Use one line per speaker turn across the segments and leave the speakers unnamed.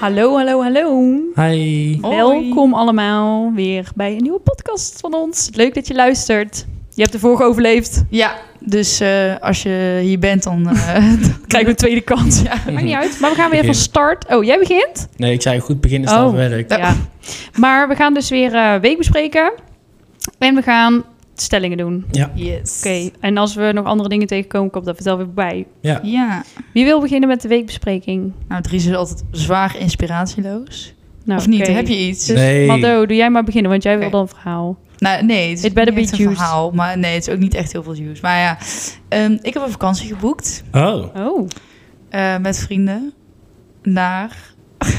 Hallo, hallo, hallo.
Hi.
Hoi.
Welkom allemaal weer bij een nieuwe podcast van ons. Leuk dat je luistert. Je hebt de vorige overleefd.
Ja, dus eh, als je hier bent, dan... eh,
Krijgen we een tweede kans. Maakt niet uit, maar we gaan weer van
Begin.
start. Oh, jij begint?
Nee, ik zei goed beginnen is dan
Oh.
werk.
Ja. Maar we gaan dus weer eh, week bespreken. En we gaan stellingen doen. Oké,
yes.
en als we nog andere dingen tegenkomen, komt dat vertel weer bij.
Ja.
Wie wil beginnen met de weekbespreking?
Nou, Dries is altijd zwaar inspiratieloos.
Nou,
of niet?
oké.
Heb je iets?
Dus
Nee.
Mado, doe jij maar beginnen, want jij
Oké.
wil dan een verhaal.
Nou, nee, het is
It better
niet
be
echt een
juice.
verhaal. Maar nee, het is ook niet echt heel veel juice. Maar ja, ehm, ik heb een vakantie geboekt
Oh.
Oh,
eh, met vrienden naar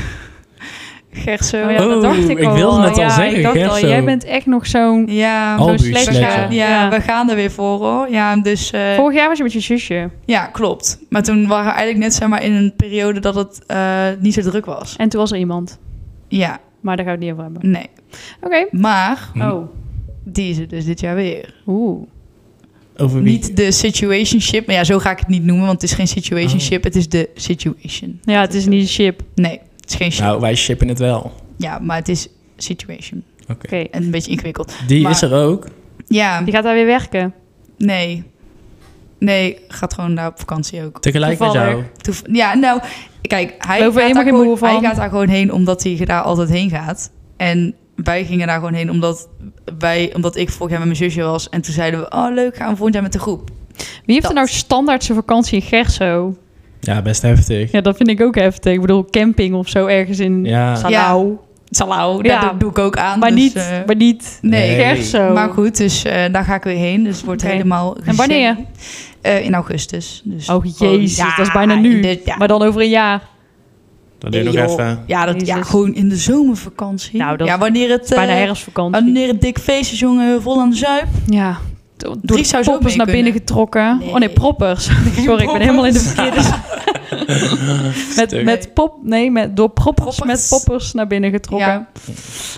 Gerso.
Oh ja, dat
Oh,
dacht ik,
ik
al.
wilde het al
Ja,
zeggen,
Ik dacht al,
Gerso.
jij bent echt nog zo'n...
Ja,
Oh,
zo'n
Albu
slechte-
Sledge.
ja, we gaan er weer voor hoor. Ja, dus... eh,
Vorig jaar was je met je zusje.
Ja, klopt. Maar toen waren we eigenlijk net zeg maar, in een periode dat het eh, niet zo druk was.
En toen was er iemand.
Ja,
Maar daar gaan we het niet over hebben.
nee.
Oké.
Maar
Hm.
Oh.
die is het dus dit jaar weer.
Oeh.
Over wie?
Niet de situationship, maar ja, zo ga ik het niet noemen, want het is geen situationship.
Oh.
Het is de situation.
Ja, het is niet een ship. Oké.
Nee, het is geen ship.
Nou, wij shippen het wel.
Ja, maar het is situation. En een beetje ingewikkeld.
Die
Maar-
is er ook.
Ja,
Die gaat daar weer werken.
nee. Nee, gaat gewoon daar op vakantie ook.
Tegelijk met jou.
Toevallig.
Toef- Ja, nou, kijk, hij
Geloof er
gaat,
helemaal
daar
geen
gewoon,
moe van.
hij gaat daar gewoon heen omdat hij daar altijd heen gaat. En wij gingen daar gewoon heen omdat, wij, omdat ik vorig jaar met mijn zusje was. En toen zeiden we, oh leuk, gaan we volgend jaar met de groep.
Wie heeft
Dat.
er nou standaard zijn vakantie in Gerso?
Ja, best heftig.
Ja, dat vind ik ook heftig. Ik bedoel, camping of zo ergens in
Ja.
Salau.
Salau,
Ja.
dat doe ik ook aan.
Maar,
dus,
niet,
eh,
maar niet
nee,
Nee.
Gerso.
maar goed, dus eh, daar ga ik weer heen. Dus het wordt
Oké.
helemaal
En wanneer?
gezellig. Eh, in augustus. Dus
Oh jezus,
gewoon-
dat is bijna
Ja,
nu.
in de- ja.
Maar dan over een jaar.
Dat doe je nog
Hey, joh.
even.
ja, dat, ja,
Jezus.
gewoon in de zomervakantie.
Nou, dat
ja, wanneer het,
Bijna
eh,
herfstvakantie.
wanneer het dik feest is, jongen, vol aan de zuip.
Ja. Door door
Dries
de
zou zo
poppers
mee
naar binnen
kunnen.
getrokken.
Nee.
Oh nee, proppers. Sorry, ik ben helemaal in de verkeerde... met,
Stuk.
met pop... Nee, met, door proppers,
Proppers.
met poppers naar binnen getrokken.
Ja.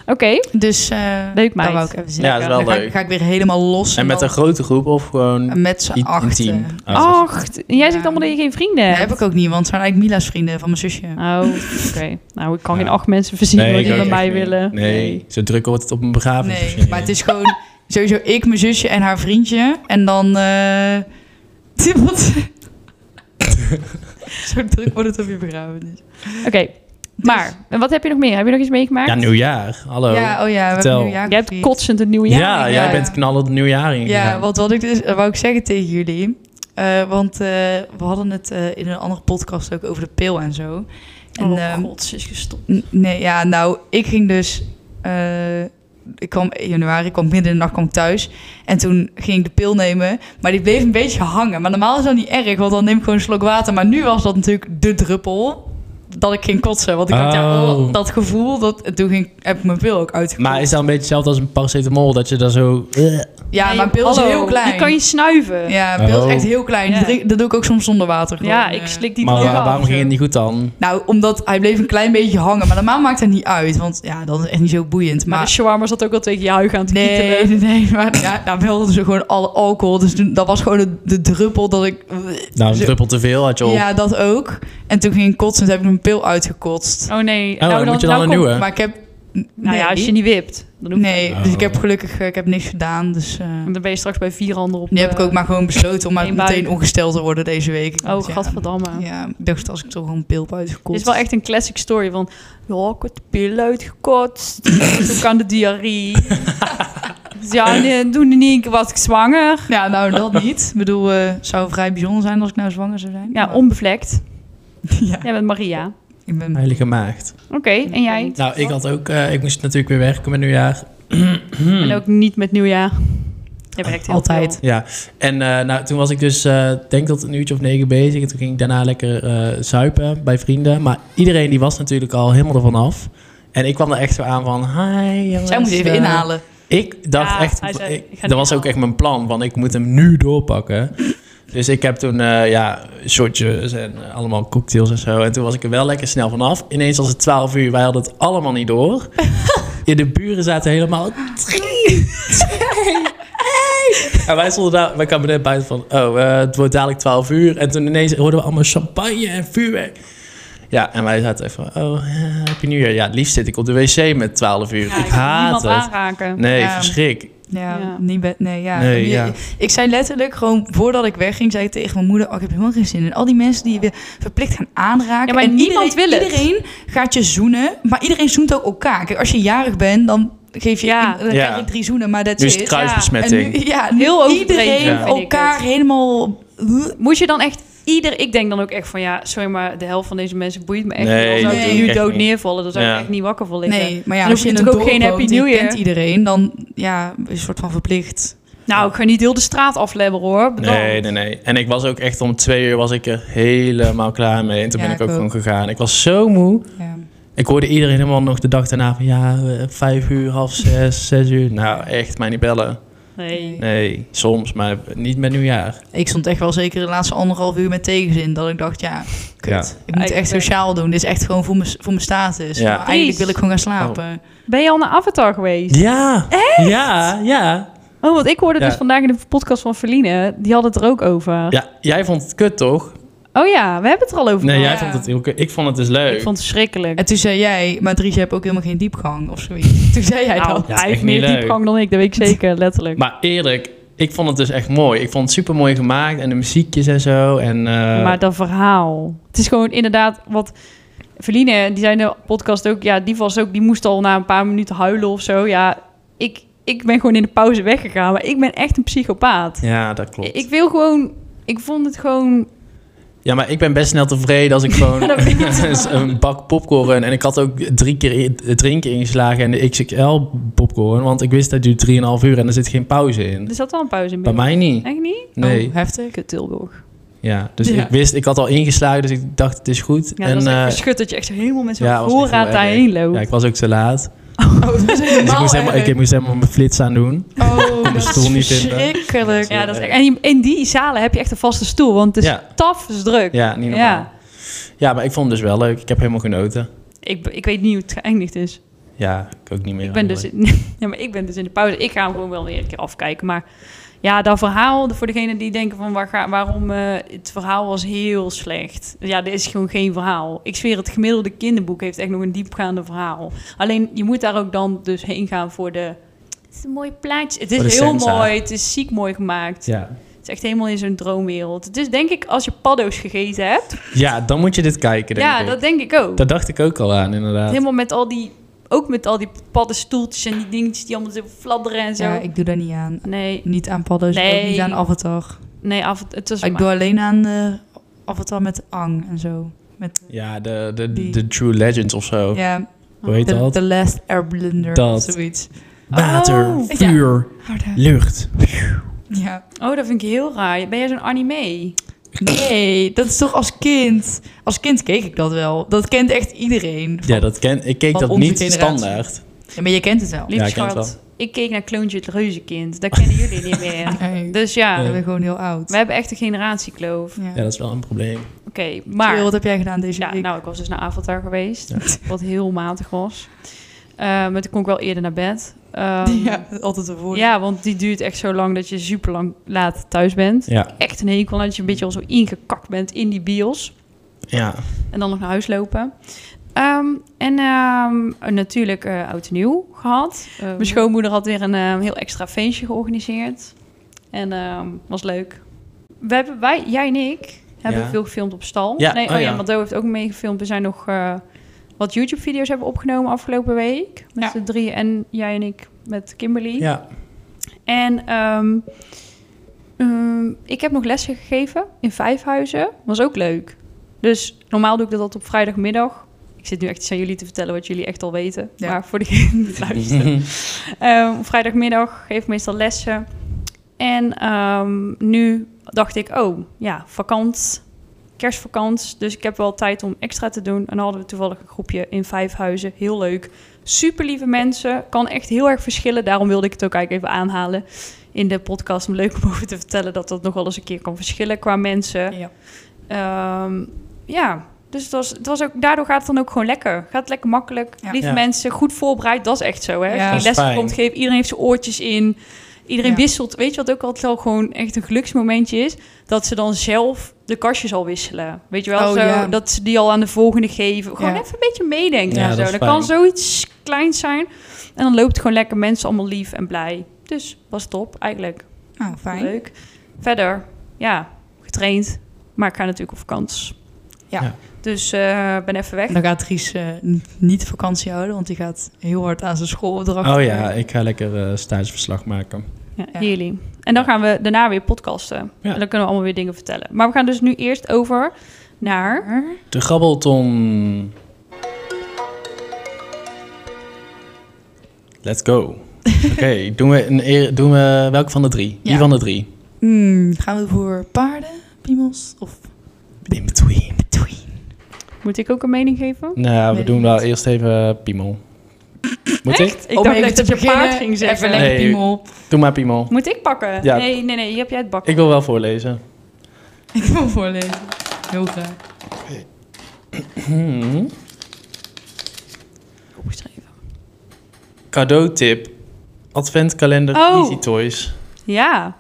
Oké,
Ah,
Dus eh
Leuk, meid.
Dat wou ik even zeggen.
Ja, dat is wel
Dan ga, ik-
leuk.
ga ik weer helemaal los.
En met
dan-
een grote groep of gewoon
met z'n
i- intiem?
achten.
Ah, zo.
Acht. En Jij zegt
Ja.
allemaal dat je geen vrienden
Dat
hebt.
heb ik ook niet, want het zijn eigenlijk Mila's vrienden van mijn zusje.
Oh, oké. Nou, ik kan
Ja.
geen acht mensen verzinnen
ik
die
ook
bij
echt
mij
niet.
willen.
Nee, zo druk wordt het op een begrafenis.
nee,
misschien.
maar het is gewoon sowieso ik, mijn zusje en haar vriendje. En dan... eh wat- Zo druk wordt het op je begrafenis.
Oké,
Dus-
maar en wat heb je nog meer? Heb je nog iets meegemaakt?
Ja, nieuwjaar. Hallo.
Ja, oh ja, we
Vertel.
hebben nieuwjaar
Jij hebt
gevierd.
kotsend het nieuwe
Ja,
jaar.
jij
ja.
bent knallend het nieuwjaar in.
Ja, want wat ik dus eh, wou ik zeggen tegen jullie. eh, want eh, we hadden het eh, in een andere podcast ook over de pil en zo. En,
Oh,
ehm,
god, ze is gestopt.
N- Nee, ja, nou, ik ging dus... eh, ik kwam in januari, ik kwam midden in de nacht kwam ik thuis. En toen ging ik de pil nemen. Maar die bleef een beetje hangen. Maar normaal is dat niet erg, want dan neem ik gewoon een slok water. Maar nu was dat natuurlijk de druppel dat ik ging kotsen. Want ik dacht, ja,
Oh.
oh, dat gevoel, dat, en toen ging, heb ik mijn pil ook uitgekomen.
Maar is dat een beetje hetzelfde als een paracetamol? Dat je daar zo... eh,
Ja, mijn pil is heel klein.
Die kan je snuiven. Ja,
Ja, mijn pil
Oh.
is echt heel klein. Die
Eh, Ja.
drink- dat doe ik ook soms zonder water. gewoon,
ik
eh.
slik die
maar
drie
waar-
af.
waarom ging het niet goed dan?
Nou, omdat hij bleef een klein beetje hangen. Maar normaal maakt dat niet uit. Want ja, dat is echt niet zo boeiend.
Maar
Maar
de shawarma zat ook al tegen je huig aan te
Nee,
kietelen.
nee, nee, maar ja, daar wilden ze gewoon alle alcohol. Dus toen- dat was gewoon de, de druppel dat ik...
Nou, een
Zo-
druppel te veel had je op.
Ja, dat ook. En toen ging ik kotsen en toen heb ik mijn pil uitgekotst.
Oh nee.
Nou,
Oh, dan moet je dan een
komt-
nieuwe.
Maar ik heb... Nee,
Nou ja, als je niet wipt, dan hoeft
Nee,
het
niet.
dus ik heb gelukkig eh, ik heb niks gedaan. Dus eh,
niet. Want dan ben je straks bij vier handen op...
nu heb
eh,
ik ook maar gewoon besloten om maar
één buik.
meteen ongesteld te worden deze week. Ik
Oh,
dacht, ja,
gadverdamme.
Ja, ik dacht als ik toch gewoon een pil heb
Dit
uitgekotst.
is wel echt een classic story van... Ja, ik heb de pil uitgekotst. Toen aan de diarree. Dus ja, nee, toen in één keer was ik zwanger.
Ja, nou dat niet. Ik bedoel, eh, het zou vrij bijzonder zijn als ik nou zwanger zou zijn.
Ja,
Maar-
onbevlekt.
Ja,
Jij bent Maria.
ik ben...
Heilige maagd.
Oké, en jij?
Nou, ik had ook... eh, ik moest natuurlijk weer werken met nieuwjaar. Hmm.
En ook niet met nieuwjaar. Jij werkt heel
Altijd.
veel.
Ja, en eh, nou, toen was ik dus, eh, denk dat een uurtje of negen bezig. En toen ging ik daarna lekker eh, zuipen bij vrienden. Maar iedereen die was natuurlijk al helemaal ervan af. En ik kwam er echt zo aan van, hi jongens.
Zij moet even
eh,
inhalen.
Ik dacht
Ja, hij
echt,
zei,
ik-
ik ga
dat was
niet
ook echt mijn plan. Want ik moet hem nu doorpakken. Dus ik heb toen, eh, ja, shotjes en eh, allemaal cocktails en zo. En toen was ik er wel lekker snel vanaf. Ineens was het 12 uur, wij hadden het allemaal niet door. In de buren zaten helemaal... En wij stonden daar, wij kwamen net buiten van, oh, eh, het wordt dadelijk 12 uur. En toen ineens hoorden we allemaal champagne en vuurwerk. Ja, en wij zaten even van, oh, eh, heb je nu weer? Ja, het liefst zit ik op de wc met 12 uur.
Ja,
ik
kan
haat
niemand
het.
aanraken.
Nee,
Ja.
verschrik.
Ja,
Ja.
niet bed. Nee, ja.
Nee,
Je-
ja.
Ik zei letterlijk gewoon voordat ik wegging, zei ik tegen mijn moeder: oh, Ik heb helemaal geen zin in. Al die mensen die je weer verplicht gaan aanraken.
Ja, maar
en
niemand
iedereen,
wil het.
Iedereen gaat je zoenen, maar iedereen zoent ook elkaar. Kijk, als je jarig bent, dan geef je
Ja.
dan
Ja.
krijg je drie zoenen, maar dat
Nu is het
ja.
En nu,
kruisbesmetting.
ja, nu
Heel overdreven,
iedereen
Ja.
vind ik
elkaar
het.
helemaal.
Moet je dan echt ieder... Ik denk dan ook echt van, ja, sorry, maar de helft van deze mensen boeit me echt
Nee,
niet. Al zou
nee,
ik er nu
echt
dood
niet.
neervallen, daar zou
Ja.
ik echt niet wakker voor liggen.
Nee, maar ja,
Dan
als
hoef
je
je
in een
natuurlijk ook
dorp
geen
woont
Happy New
en je
Year.
kent iedereen, dan ja, is een soort van verplicht.
Nou, ik ga niet heel de straat aflebben, hoor. Bedankt.
Nee, nee, nee. En ik was ook echt om twee uur was ik er helemaal klaar mee. En toen
Ja,
ben ik
ik
ook
ook.
gewoon gegaan. Ik was zo moe.
Ja.
Ik hoorde iedereen helemaal nog de dag daarna van ja, eh, vijf uur, half zes, zes uur. Nou, echt, mij niet bellen.
Nee.
Nee, soms, maar niet met nieuwjaar.
Ik stond echt wel zeker de laatste anderhalf uur met tegenzin. Dat ik dacht, ja, kut. Ik moet echt
Eigenlijk. eh,
sociaal doen. Dit is echt gewoon voor mijn voor mijn status.
Ja.
Maar eigenlijk wil ik gewoon gaan slapen.
Ben je al naar Avatar geweest?
Ja! Ja, ja.
Oh, want ik hoorde
Ja.
dus vandaag in de podcast van Verline, die had het er ook over.
Ja, jij vond het kut, toch?
Oh ja, we hebben het er al over.
Nee,
gehad.
jij vond het heel kut. Ik vond het dus leuk.
Ik vond het schrikkelijk.
En toen zei jij, maar Dries, je hebt ook helemaal geen diepgang of zoiets. Toen zei jij oh,
Nou,
dat.
Ja,
hij
echt
heeft
niet
meer
leuk.
diepgang dan ik, dat weet ik zeker, letterlijk.
Maar eerlijk, ik vond het dus echt mooi. Ik vond het super mooi gemaakt en de muziekjes en zo. En, eh,
maar dat verhaal. Het is gewoon inderdaad wat. Verline, die zei in de podcast ook. Ja, die was ook. Die moest al na een paar minuten huilen of zo. Ja, ik, ik ben gewoon in de pauze weggegaan. Maar ik ben echt een psychopaat.
Ja, dat klopt.
Ik wil gewoon. Ik vond het gewoon.
Ja, maar ik ben best snel tevreden als ik gewoon
Dat weet ik.
een bak popcorn... En ik had ook drie keer i- drinken ingeslagen en de XXL popcorn. Want ik wist dat duurt 3,5 uur en er zit geen pauze in.
Er zat wel een pauze in.
Bij mij niet.
Echt niet?
Nee.
Oh, heftig.
Kut Tilburg.
Ja, dus
Ja.
ik wist, ik had al ingeslagen, dus ik dacht het is goed.
Ja,
en,
dat is
eh,
echt verschut dat je echt zo helemaal met zo'n
ja, was echt heel
voorraad
erg.
daarheen loopt.
Ja, ik was ook te laat.
Oh, dat is
Dus ik
helemaal
moest helemaal,
erg.
ik moest helemaal mijn flits aan doen.
Oh, dat
stoel
is
niet in, hè?
verschrikkelijk.
Ja, dat is echt- en die- in die zalen heb je echt een vaste stoel, want het is
Ja.
taf, het is druk.
Ja, niet normaal. Ja.
Ja.
maar ik vond het dus wel leuk. Ik heb helemaal genoten.
Ik, ik weet niet hoe het geëindigd is.
Ja, ik ook niet meer.
Ik ben, dus
eigenlijk.
in, ja, maar ik ben dus in de pauze. Ik ga hem gewoon wel weer een keer afkijken. Maar ja, dat verhaal, voor degenen die denken van waar ga, waarom eh, het verhaal was heel slecht. Ja, er is gewoon geen verhaal. Ik zweer, het gemiddelde kinderboek heeft echt nog een diepgaande verhaal. Alleen je moet daar ook dan dus heen gaan voor de. Het is een mooi plaatje. Het
Voor de
is heel
sensa.
mooi. Het is ziek mooi gemaakt.
Ja.
Het is echt helemaal in zo'n droomwereld. Het is denk ik als je paddo's gegeten hebt.
ja, dan moet je dit kijken, denk
ja,
ik.
dat denk ik ook.
Daar dacht ik ook al aan, inderdaad.
Helemaal met al die. Ook met al die paddenstoeltjes en die dingetjes die allemaal zo fladderen en zo.
Ja, ik doe daar niet aan.
Nee,
Niet aan padden, dus
Nee.
ook niet aan avatar.
nee, af, het was
Ik
maar-
doe alleen aan eh, avatar met ang en zo. Met,
Ja, de, de,
Die-
de True Legends of zo.
ja,
Oh.
Hoe heet
de,
dat?
de last airbender
Dat.
of zoiets.
Water,
Oh.
vuur, lucht.
Ja.
Oh, dat vind ik heel raar. Ben jij zo'n anime?
Nee, dat is toch als kind. Als kind keek ik dat wel. Dat kent echt iedereen.
Ja, dat ken, ik keek
Van
dat
onze
niet
generatie.
standaard.
Ja, maar je kent het wel.
Lieve
Ja, ik ken het
schat, ik keek naar Kloontje het Reuzenkind. Dat kennen jullie niet meer.
Nee,
Dus ja,
Nee.
ik ben gewoon heel oud.
we hebben echt een generatiekloof. Oké,
Ja.
Ja, dat is wel een probleem.
maar...
Wil, wat heb jij gedaan deze
Ja,
week?
nou, ik was dus naar Avatar geweest. Wat heel matig was. Eh, maar toen kon ik wel eerder naar bed. Ehm,
ja, altijd een woord.
ja, want die duurt echt zo lang dat je super lang laat thuis bent.
Ja,
Echt een hekel dat je een beetje al zo ingekakt bent in die bios.
ja.
En dan nog naar huis lopen. Ehm, en ehm, een natuurlijk eh oud en nieuw gehad. Ehm, Mijn schoonmoeder had weer een ehm, heel extra feestje georganiseerd. En ehm, was leuk. We hebben, wij, jij en ik hebben
Ja.
veel gefilmd op stal.
Ja,
nee,
oh
oh ja,
ja.
Mado heeft ook meegefilmd. We zijn nog eh, wat YouTube-video's hebben opgenomen afgelopen week. Met
Ja.
de drie en jij en ik met Kimberly.
ja.
En ehm, ehm, ik heb nog lessen gegeven in Vijfhuizen. Was ook leuk. Dus normaal doe ik dat altijd op vrijdagmiddag. Ik zit nu echt iets aan jullie te vertellen wat jullie echt al weten.
Ja.
Maar voor degenen die het luisteren. Ehm, op vrijdagmiddag geef ik meestal lessen. En ehm, nu dacht ik, oh ja, vakant, kerstvakant. Dus ik heb wel tijd om extra te doen. En dan hadden we toevallig een groepje in Vijfhuizen. Heel leuk. Super lieve mensen. Kan echt heel erg verschillen. Daarom wilde ik het ook eigenlijk even aanhalen in de podcast. Om leuk om over te vertellen dat dat nog wel eens een keer kan verschillen qua mensen.
Ja.
Ehm, ja, dus het was, het was ook, daardoor gaat het dan ook gewoon lekker. Gaat lekker makkelijk.
Ja.
Lieve
Ja.
mensen, goed voorbereid. Dat is echt zo, hè? Als
Ja.
je
Dat
is
lessen
fijn.
komt geven, iedereen heeft zijn oortjes in. Iedereen
Ja.
wisselt. Weet je wat ook altijd wel gewoon echt een geluksmomentje is? Dat ze dan zelf de kastjes al wisselen. Weet je wel?
Oh,
zo,
ja.
Dat ze die al aan de volgende geven. Gewoon
Ja.
even een beetje meedenken.
Ja,
en zo.
dat is
Dat,
fijn.
kan zoiets kleins zijn. En dan loopt gewoon lekker mensen allemaal lief en blij. Dus was top eigenlijk.
Nou, fijn.
Leuk. Verder, ja, getraind. Maar ik ga natuurlijk op vakantie.
Ja.
Ja.
Dus eh, ben even weg.
Dan gaat Ries eh, n- niet vakantie houden, want die gaat heel hard aan zijn schoolopdracht.
Oh ja, ik ga lekker eh, stageverslag maken.
Ja,
Ja.
heerlijk. En dan gaan we daarna weer podcasten.
Ja.
En dan kunnen we allemaal weer dingen vertellen. Maar we gaan dus nu eerst over naar...
De grabbelton. Let's go. Oké, doen, we een eer- doen we welke van de drie?
Ja.
Wie van de drie?
Hmm, gaan we voor paarden, piemels of
In between.
between?
Moet ik ook een mening geven?
Nou, we
Weet
doen
ik
wel
niet.
eerst even Piemel. Moet ik?
Ik
Om
dacht
Oh, even
dat
te
je paard
beginnen,
ging zeggen.
Even lekker
Nee.
piemel.
Doe maar Piemel.
Moet ik pakken?
Ja.
Nee, nee, nee. Hier heb jij het bakken.
Ik wil wel voorlezen.
Ik wil voorlezen. Heel graag.
Hmm.
opgeschreven.
Cadeautip. Adventkalender
Oh.
Easy Toys.
Ja.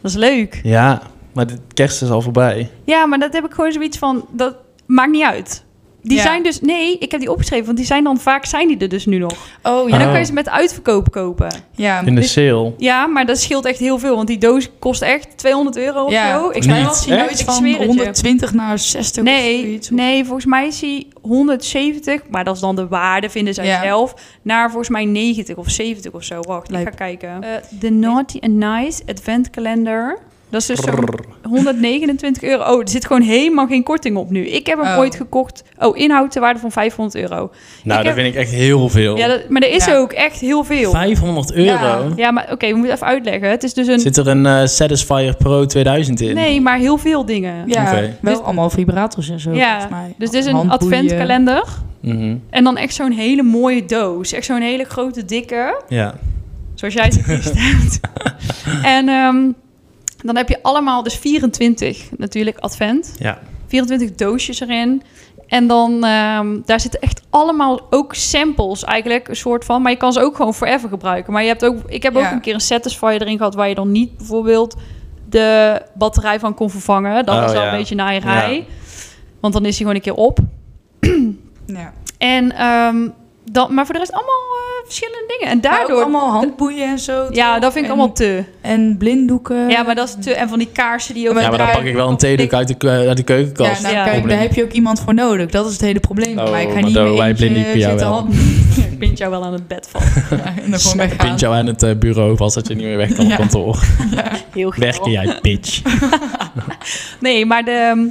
Dat is leuk.
Ja, maar de kerst is al voorbij.
Ja, maar dat heb ik gewoon zoiets van... Dat maakt niet uit. Die
Ja.
zijn dus... Nee, ik heb die opgeschreven. Want die zijn dan vaak... Zijn die er dus nu nog.
Oh
En
ja.
dan
Oh.
kun je ze met uitverkoop kopen.
Ja,
In de
Dus-
sale.
Ja, maar dat scheelt echt heel veel. Want die doos kost echt 200 euro of
Ja,
zo. Ik
Niet.
zei wel
Echt?
zien
iets
iets
van 120 naar 60 of
Nee,
zoiets.
nee, volgens mij is hij 170, maar dat is dan de waarde, vinden zij
Ja.
zelf, naar volgens mij 90 of 70 of zo. Wacht,
Lijp.
ik ga kijken. Eh, De Naughty and Nice Adventkalender. Dat is dus zo'n 129 euro. Oh, er zit gewoon helemaal geen korting op nu. Ik heb hem
Oh.
ooit gekocht. Oh, inhoud ter waarde van 500 euro.
Nou,
Ik
dat
heb-
vind ik echt heel veel.
Ja, dat- maar er is
Ja.
ook echt heel veel.
500 euro?
Ja, maar oké, we moeten even uitleggen. Het is dus een...
Zit er een eh, Satisfyer Pro 2000 in?
Nee, maar heel veel dingen.
Ja,
Oké.
wel
Dus-
allemaal vibrators en zo volgens mij.
dus dit is een
Handboeien.
adventkalender.
Mhm.
En dan echt zo'n hele mooie doos. Echt zo'n hele grote, dikke.
Ja.
Zoals jij ze hier staat. en ehm, dan heb je allemaal, dus 24 natuurlijk, advent.
ja.
24 doosjes erin. En dan, ehm, daar zitten echt allemaal ook samples eigenlijk, een soort van. Maar je kan ze ook gewoon forever gebruiken. Maar je hebt ook, ik heb
Ja.
ook een keer een Satisfyer erin gehad... waar je dan niet bijvoorbeeld de batterij van kon vervangen. Dat
Oh,
was wel
ja.
een beetje naaierij.
Ja.
Want dan is die gewoon een keer op.
Ja.
En ehm, dan, maar voor de rest allemaal eh, verschillende dingen. En
Daardoor
daardoor.
allemaal handboeien en zo.
ja, dat vind ik
en,
allemaal te.
En blinddoeken.
ja, maar dat is te. En van die kaarsen die ook.
Ja,
ja, maar dan pak ik wel een theedoek uit de, keu- uit de
Ja,
keukenkast.
nou,
Ja.
kijk, daar heb je ook iemand voor nodig. Dat is het hele probleem.
Oh,
maar ik ga
maar
niet
daar-
meer
wij
eentje
blinddoeken jou
zitten
wel.
handen-
Ik bind jou wel aan het bed van.
Ja, en dan gewoon
nou,
weggaan.
Vind jou aan het eh, bureau vast dat je niet meer weg kan op
Ja.
kantoor.
Heel
Werken jij, bitch.
Nee, maar de, ehm,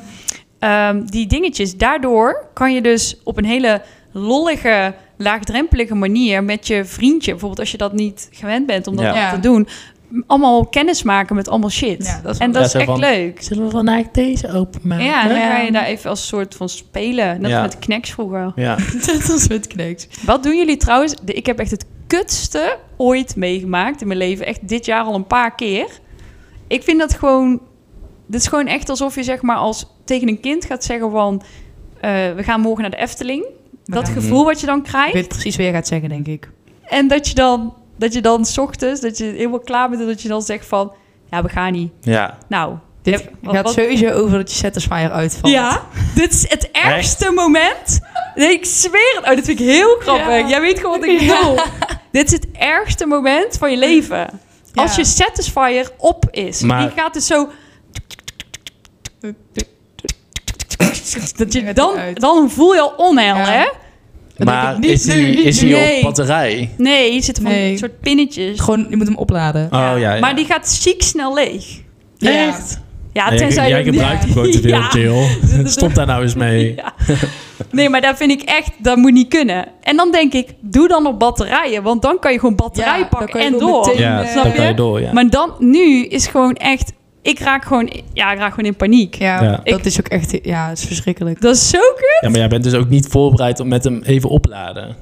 ehm, die dingetjes. Daardoor kan je dus op een hele lollige, laagdrempelige manier met je vriendje, bijvoorbeeld als je dat niet gewend bent om dat
Ja.
allemaal
Ja.
te doen, m- allemaal kennis maken met allemaal shit.
Ja, dat is wel
en
leuk.
dat is
Ja, zo
echt
van-
leuk.
Zullen we vandaag deze openmaken?
Ja, en dan
Ja.
ga je daar even als soort van spelen. Net
Ja.
als met knacks vroeger.
Ja.
Dat is met kneeks.
Wat doen jullie trouwens? De- Ik heb echt het kutste ooit meegemaakt in mijn leven. Echt dit jaar al een paar keer. Ik vind dat gewoon... Dit is gewoon echt alsof je zeg maar als tegen een kind gaat zeggen van... eh, we gaan morgen naar de Efteling. Dat
Ja.
gevoel wat je dan
Ik
krijgt.
weet precies wat je gaat zeggen, denk ik.
En dat je dan, dat je dan 's ochtends, dat je helemaal klaar bent... en dat je dan zegt van, ja, we gaan niet.
ja.
Nou,
Dit
Ja, wat-
gaat
wat-
sowieso over dat je Satisfyer uitvalt.
Ja, dit is het ergste moment. Nee, ik zweer het. Oh, dit vind ik heel grappig.
Ja.
Jij weet gewoon wat ik bedoel. Dit is het ergste moment van je leven.
Ja.
Als je Satisfyer op is.
Maar-
Die gaat dus zo... Dat je
Gaat
dan,
die uit.
dan voel je al onheil,
Ja.
hè?
Dat
Maar
denk ik niet
is
nu,
die,
niet
is
nu.
die op
Nee.
batterij?
Nee, je zit van
Nee.
een soort pinnetjes.
Gewoon, je moet hem opladen.
Oh ja, ja.
Maar die gaat ziek snel leeg.
Ja.
Echt?
Ja,
jij,
tenzij...
jij
je-
gebruikt hem gewoon te veel,
Ja.
chill. Stop daar nou eens mee.
Ja. Nee, maar daar vind ik echt, dat moet niet kunnen. En dan denk ik, doe dan op batterijen, want dan kan je gewoon batterij
Ja, dan
pakken
kan je
en
gewoon
door.
meteen,
Ja,
eh,
snap
dan kan je
je?
door, ja.
Maar dan, nu is gewoon echt, ik raak gewoon, ja, ik raak gewoon in paniek.
Ja,
Ja.
dat is ook echt... Ja, dat is verschrikkelijk.
Dat is zo kut.
Ja, maar jij bent dus ook niet voorbereid om met hem even opladen.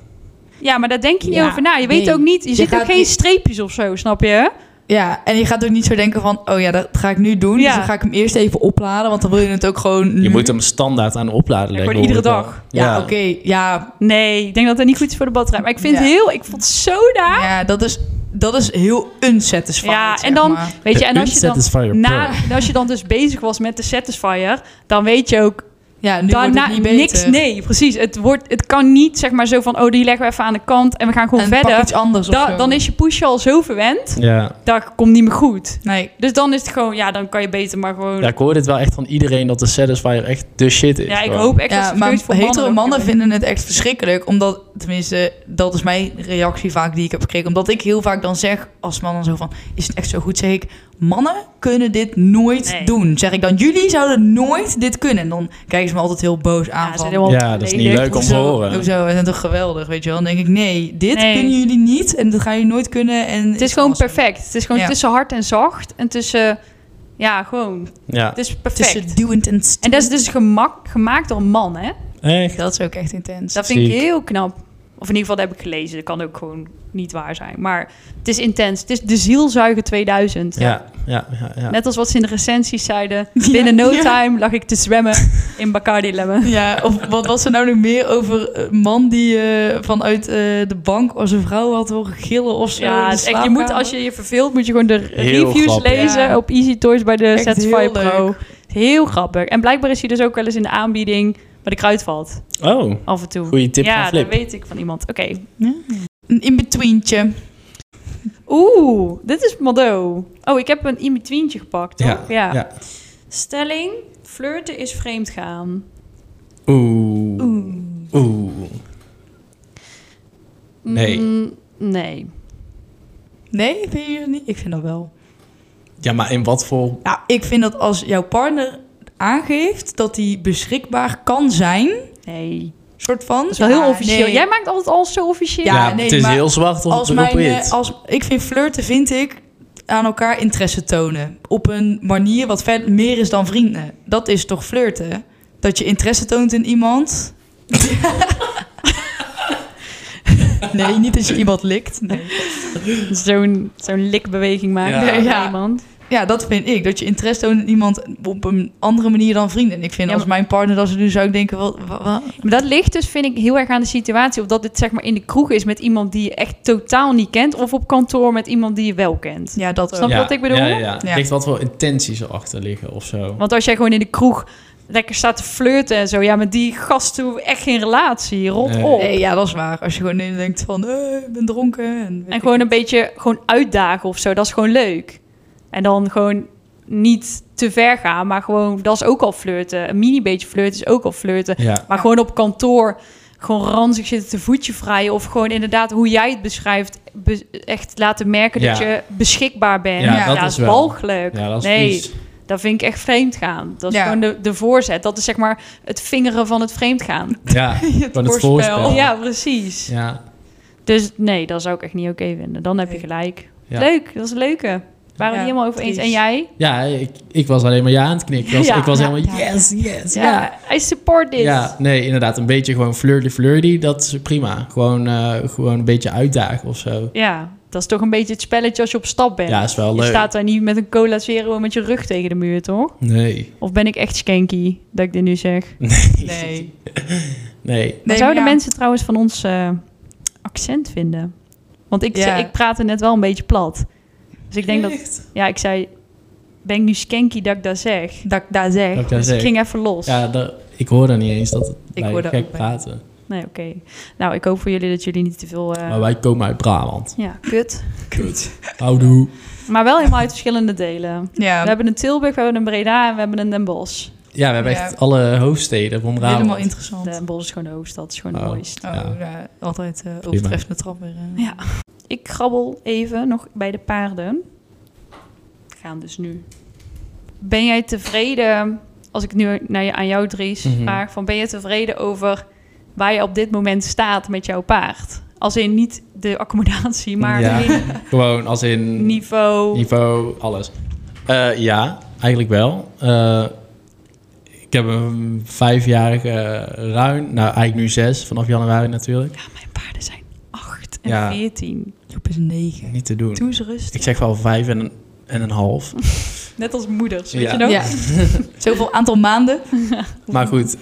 Ja, maar daar denk je niet
Ja,
over na. Je weet
nee.
ook niet, je,
Je
ziet ook
gaat
geen
niet-
streepjes of zo, snap je?
Ja, en je gaat ook niet zo denken van... Oh ja, dat ga ik nu doen.
Ja.
Dus dan ga ik hem eerst even opladen. Want dan wil je het ook gewoon...
Je
nu.
moet hem standaard aan opladen leggen.
gewoon Mm-hmm. iedere
hoor ik wel.
dag.
Ja, oké. Ja,
Nee, ik denk dat dat niet goed is voor de batterij. Maar ik vind
Ja.
heel, ik vond het zo daar.
ja, dat is... dat is heel unsatisfying.
Ja,
zeg
en dan,
maar.
weet je, en als je dan,
Unsatisfier
na,
Pro.
en als je dan dus bezig was met de Satisfier, dan weet je ook
ja, nu wordt
daarna
het niet beter.
niks. Nee, precies. Het, wordt, het kan niet zeg maar zo van, oh, die leggen we even aan de kant en we gaan gewoon
en pak
verder.
iets anders of
Da-
zo.
dan is je pushje al zo verwend,
Ja.
dat komt niet meer goed.
Nee,
Dus dan is het gewoon, ja, dan kan je beter maar gewoon...
ja,
Ja,
ik hoor dit wel echt van iedereen dat de Satisfier echt de shit is.
ik
gewoon.
hoop echt dat
ja,
het maar
maar
voor
hetero mannen,
ook gewoon-
vinden het echt verschrikkelijk. Omdat, tenminste, dat is mijn reactie vaak die ik heb gekregen. Omdat ik heel vaak dan zeg, als man dan zo van... Is het echt zo goed? Zeg ik, mannen kunnen dit nooit
Nee.
doen. Zeg ik dan, jullie zouden nooit dit kunnen. En dan kijken ze me altijd heel boos aan
Ja, ze
van... "Oh,
zijn helemaal
Ja, dat is niet
leeg.
leuk om te
Hoezo?
horen.
Hoezo? En toch geweldig, weet je wel? Dan denk ik, nee, dit
Nee.
kunnen jullie niet en dat gaan jullie nooit kunnen. En
Het is gewoon
awesome.
perfect. Het is gewoon
Ja.
tussen hard en zacht en tussen... Ja, gewoon.
Ja.
Het is perfect.
Tussen duwend en
En
stil.
dat is dus gemak, gemaakt door mannen, hè?
Echt?
Dat is ook echt intens.
Dat vind ik
Ziek.
heel knap. Of in ieder geval, dat heb ik gelezen. Dat kan ook gewoon niet waar zijn. Maar het is intens. Het is de zielzuiger 2000.
Ja, ja, ja. ja.
Net als wat ze in de recensies zeiden.
Ja,
Binnen no
ja.
time lag ik te zwemmen in Bacardi Lemon.
Ja, of wat was er nou nog meer over een man die eh, vanuit eh, de bank als een vrouw had horen gillen of zo? in
Ja,
de
het is echt, je moet,
slaapkamer?
als je je verveelt, moet je gewoon de
Heel
reviews
grappig.
lezen
Ja.
op Easy Toys bij de
Echt
Satisfy
heel
eh, Pro.
leuk.
Heel grappig. En blijkbaar is hij dus ook wel eens in de aanbieding bij de kruidvat.
Oh,
Af en toe.
goede tip
ja,
van
dat
Flip.
weet ik van iemand. Oké.
Een in-betweentje.
Oeh, dit is Mado. Oh, ik heb een in-betweentje gepakt, toch?
ja.
Stelling: flirten is vreemdgaan.
Oeh.
Oeh.
Oeh. Nee.
Mm, nee.
Nee, vind je dat niet? Ik vind dat wel.
Ja, maar in wat voor...
Nou, ik vind dat als jouw partner aangeeft dat hij beschikbaar kan zijn,
Nee.
soort van.
Dat is wel heel
Ah,
officieel.
nee.
Jij maakt altijd alles zo officieel.
Ja,
Ja,
nee,
het is
maar
heel zwart op
als
de
mijn, eh,
wit.
als, ik vind flirten, vind ik, aan elkaar interesse tonen. Op een manier wat ver, meer is dan vrienden. Dat is toch flirten? Dat je interesse toont in iemand. nee, niet dat je iemand likt. Nee.
Zo'n zo'n likbeweging maken
Ja.
bij
Ja.
iemand.
Ja, dat vind ik. Dat je interesse toont in iemand op een andere manier dan vrienden. En ik vind
Ja,
als mijn partner dat ze doen, zou ik denken... Wat, wat, wat?
Maar dat ligt dus, vind ik, heel erg aan de situatie. Of dat dit zeg maar in de kroeg is met iemand die je echt totaal niet kent. Of op kantoor met iemand die je wel kent.
Ja, dat
Snap
ook.
je?
ja,
wat ik bedoel?
Ja, ja, ja.
Ja.
Ligt wat voor intenties erachter liggen of zo.
Want als jij gewoon in de kroeg lekker staat te flirten en zo. Ja, met die gast hoef ik echt geen relatie. Rot
Nee.
op.
Nee, ja, dat is waar. Als je gewoon in denkt van... eh, ik ben dronken. En, weet
En
ik
gewoon een beetje gewoon uitdagen of zo. Dat is gewoon leuk. En dan gewoon niet te ver gaan, maar gewoon, dat is ook al flirten. Een mini beetje flirten is ook al flirten.
Ja.
Maar gewoon op kantoor, gewoon ranzig zitten te voetje vrijen. Of gewoon inderdaad, hoe jij het beschrijft, be- echt laten merken dat
Ja.
je beschikbaar bent.
Ja,
dat
is wel.
walgelijk.
Ja, dat is
nee,
vies.
dat vind ik echt vreemd gaan. Dat is
Ja.
gewoon de, de voorzet. Dat is zeg maar het vingeren van het vreemd gaan.
Ja, van het
voorspel.
voorspel.
Ja, precies.
Ja,
Dus nee, dat zou ik echt niet oké vinden. Dan heb je
Nee.
gelijk.
Ja.
Leuk, dat is een leuke. Waren we
Ja,
het helemaal over eens.
precies.
En jij?
ja ik, ik was alleen maar ja aan het knikken. Ik was,
Ja,
ik was
ja,
helemaal
ja.
yes, yes, ja.
I support this.
Ja, nee, inderdaad. Een beetje gewoon flirty-flirty, dat is prima. Gewoon, eh, gewoon een beetje uitdagen of zo.
Ja, dat is toch een beetje het spelletje als je op stap bent.
Ja, is wel
je
leuk.
staat daar niet met een cola zero met je rug tegen de muur, toch?
Nee.
Of ben ik echt skanky dat ik dit nu zeg?
Nee.
Nee.
Wat
Nee,
zouden
maar ja.
mensen trouwens van ons eh, accent vinden? Want ik,
Ja.
ik praatte net wel een beetje plat. Dus ik denk dat...
Echt?
Ja, ik zei... Ben ik nu skanky dat ik dat zeg?
Dat ik daar zeg.
Dat ik daar
Dus ik
zeg.
ging even los.
Ja, dat, ik hoor dan niet eens dat het wij
hoor dat
gek
ook bij.
praten.
Nee, oké. Nou, ik hoop voor jullie dat jullie niet te veel... eh,
Maar wij komen uit Brabant.
Ja, kut.
Kut. Houdoe.
Maar wel helemaal uit verschillende delen.
Ja,
We hebben een Tilburg, we hebben een Breda en we hebben een Den Bosch.
Ja, we hebben
Ja.
echt alle hoofdsteden van Brabant.
helemaal interessant.
Den Bosch is gewoon de hoofdstad, is gewoon
Oh.
het mooist.
Oh,
Ja.
ja. altijd eh overtreffende trap weer. eh.
Ja. Ik krabbel even nog bij de paarden. We gaan dus nu. Ben jij tevreden, als ik nu naar je, aan jou Dries
Mhm.
vraag, van ben je tevreden over waar je op dit moment staat met jouw paard? Als in niet de accommodatie, maar
Ja.
in
Gewoon als in
niveau.
niveau, alles. Eh, ja, eigenlijk wel. Eh, ik heb een vijfjarige ruim. Nou, eigenlijk nu zes, vanaf januari natuurlijk.
Ja, mijn paarden zijn 8 en
Ja.
14.
Joep is negen.
Niet te doen.
Doe eens rustig.
Ik zeg wel vijf en een, en een half.
Net als moeders, weet
Ja.
je nog?
Ja. Zoveel aantal maanden.
Maar goed, eh,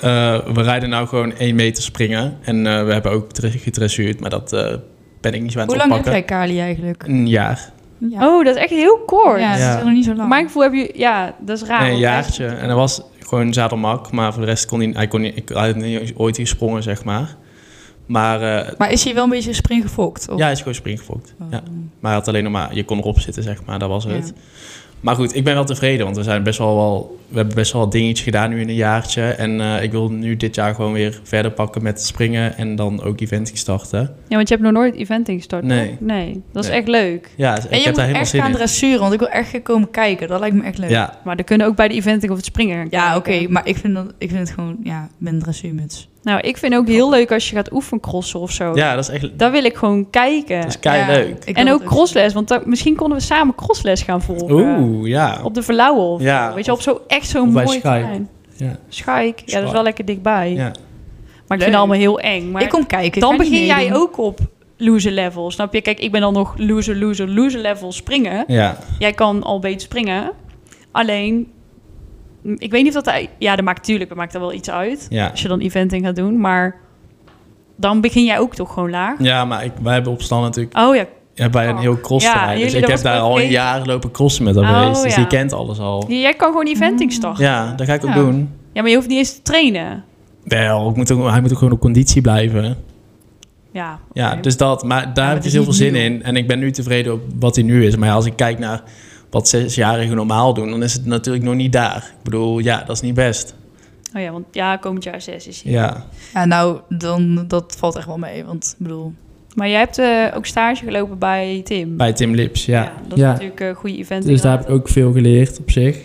we rijden nou gewoon één meter springen. En eh, we hebben ook dre- gedressuurd, maar dat eh, penningjes aan het
Hoe lang heb
oppakken.
jij Kali eigenlijk?
Een jaar.
Ja.
Oh, dat is echt heel kort.
Ja, dat
Ja.
is nog niet zo lang.
Maar mijn gevoel heb je... Ja, dat is raar.
Nee, een
want
jaartje. En dat was gewoon zadelmak, maar voor de rest kon hij, hij, kon niet, ik, hij had niet ooit gesprongen, zeg maar. Maar eh,
Maar is hij wel een beetje springgefokt? Of?
ja, hij is gewoon springgefokt.
Oh.
ja. Maar hij had alleen nog maar, je kon erop zitten, zeg maar, dat was het. Maar goed, ik ben wel tevreden, want we, zijn best wel wel, we hebben best wel wat dingetjes gedaan nu in een jaartje. En eh, ik wil nu dit jaar gewoon weer verder pakken met springen en dan ook events starten.
Ja, want je hebt nog nooit eventing gestart,
Nee.
toch? Nee, dat is
Nee.
echt leuk.
Ja, ik
En je
heb
moet
daar helemaal
echt
zin
gaan
in.
dressuren, want ik wil echt komen kijken. Dat lijkt me echt leuk.
Ja,
Maar dan kunnen ook bij de eventing of het springen gaan
Ja, oké,
kijken.
maar ik vind, dat, ik vind het gewoon, ja, met een dressuurmuts.
Nou, ik vind ook heel leuk als je gaat oefencrossen of zo.
ja, dat is echt
Daar wil ik gewoon kijken.
dat is kei
Ja,
leuk.
ik wil
En
dat
ook crossles, want daar- misschien konden we samen crossles gaan volgen.
Oeh, ja.
eh, Op de Verlauwen of
Ja,
zo. Weet je,
of-
op zo, echt zo'n
of bij
mooi
Schaik.
terrein.
Ja.
Schaik, ja, dat
Schaik.
is wel lekker dichtbij.
ja.
Maar ik
Leuk.
vind het allemaal heel eng. Maar
Ik kom kijken.
dan begin jij ook op loser level, snap je? Kijk, ik ben dan nog loser, loser, loser level springen.
Ja,
Jij kan al beter springen. Alleen, m, ik weet niet of dat... hij- Ja, dat maakt natuurlijk, dat maakt er wel iets uit.
ja.
Als je dan eventing gaat doen, maar... Dan begin jij ook toch gewoon laag?
ja maar ik, wij hebben op stand natuurlijk
Oh ja,
hebben wij een heel
Ja,
crossterrein.
jullie,
dus ik
dat
heb
was
daar
ook
al een
één-
jaar lopen crossen met dat
Oh,
race. Dus
ja.
je kent alles al.
jij kan gewoon eventing
Mm.
starten.
Ja, dat ga ik ook
Ja.
doen.
Ja, maar je hoeft niet eens te trainen.
Wel, ik moet ook, hij moet ook gewoon op conditie blijven.
Ja,
Ja,
oké.
dus dat. Maar daar heb
maar het
je
is
heel veel
niet
zin
nieuw.
in. En ik ben nu tevreden op wat hij nu is. Maar ja, als ik kijk naar wat zesjarigen normaal doen, dan is het natuurlijk nog niet daar. Ik bedoel, ja, dat is niet best.
Oh ja, want ja, komend jaar zes is hij.
Ja,
Ja, nou, dan, dat valt echt wel mee, want ik bedoel...
Maar jij hebt eh, ook stage gelopen bij Tim.
bij Tim Lips, ja.
dat is natuurlijk een goede event.
Dus daar heb ik
inderdaad.
ook veel geleerd op zich.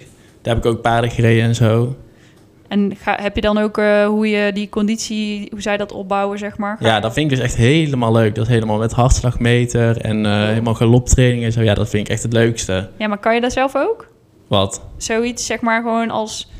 Daar heb ik ook paarden gereden en zo.
En ga, heb je dan ook eh, hoe je die conditie, hoe zij dat opbouwen, zeg maar?
Ja, dat vind ik dus echt helemaal leuk. Dat is helemaal met hartslagmeter en eh, helemaal galoptraining en zo. Ja, dat vind ik echt het leukste.
Ja, maar kan je dat zelf ook?
Wat?
Zoiets, zeg maar, gewoon als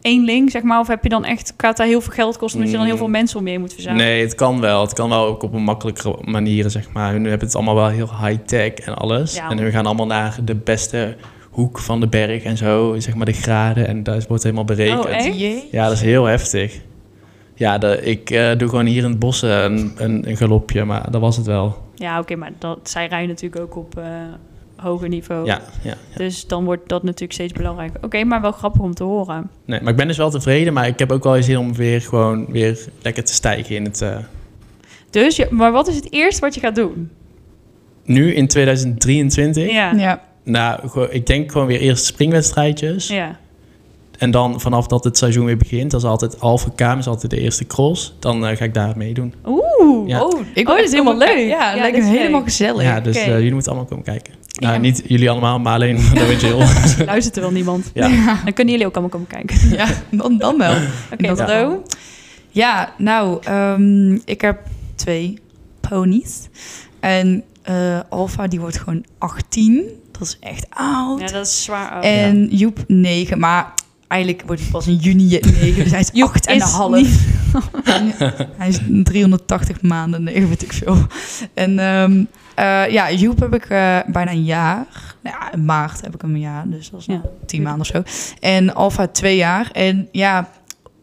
één link, zeg maar? Of heb je dan echt, gaat daar heel veel geld kosten, omdat je dan heel
Mm.
veel mensen om je heen moet verzamelen?
Nee, het kan wel. Het kan wel ook op een makkelijkere manier, zeg maar. Hun hebben het allemaal wel heel high-tech en alles.
Ja.
En we gaan allemaal naar de beste hoek van de berg en zo. Zeg maar de graden en daar wordt helemaal berekend.
Oh, echt?
Jee.
Ja, dat is heel heftig. Ja, de, ik eh, doe gewoon hier in het bos eh, een, een, een galopje, maar dat was het wel.
Ja, oké, maar dat, zij rijden natuurlijk ook op eh, hoger niveau.
Ja, ja.
Dus dan wordt dat natuurlijk steeds belangrijker. Oké, maar wel grappig om te horen.
Nee, maar ik ben dus wel tevreden, maar ik heb ook wel zin om weer gewoon weer lekker te stijgen in het... eh,
Dus, je- maar wat is het eerste wat je gaat doen?
nu in 2023,
Ja, ja.
Ja.
nou, gewoon- ik denk gewoon weer eerst springwedstrijdjes. En dan vanaf dat het seizoen weer begint, dat is altijd halve kamer, is altijd de eerste cross. Dan eh, ga ik daar meedoen.
Oeh,
Ja.
Oh, ik
dat is helemaal leuk.
Ja, het
Ja,
lijkt
dit
me
is
helemaal
leuk.
gezellig.
Ja, dus eh,
oké.
jullie moeten allemaal komen kijken. Nou,
Ja.
niet jullie allemaal, maar alleen de Jill.
oh, luistert er wel niemand.
Ja.
Dan kunnen jullie ook allemaal komen kijken.
Ja, dan, dan wel.
Oké,
Dat-
Ro.
Ja, nou, ehm, ik heb twee ponies. En eh Alfa, die wordt gewoon 18. Dat is echt oud.
Ja, dat is zwaar oud.
en Joep 9, maar eigenlijk wordt hij pas in juni 9, dus hij is
Joep
8 en een
is
half. hij is 380 maanden, nee, weet ik veel. En ehm, eh, ja, Joep heb ik eh, bijna een jaar. Nou ja, in maart heb ik hem een jaar, dus dat is
Ja.
nog 10 maanden of zo. En Alfa twee jaar. En ja,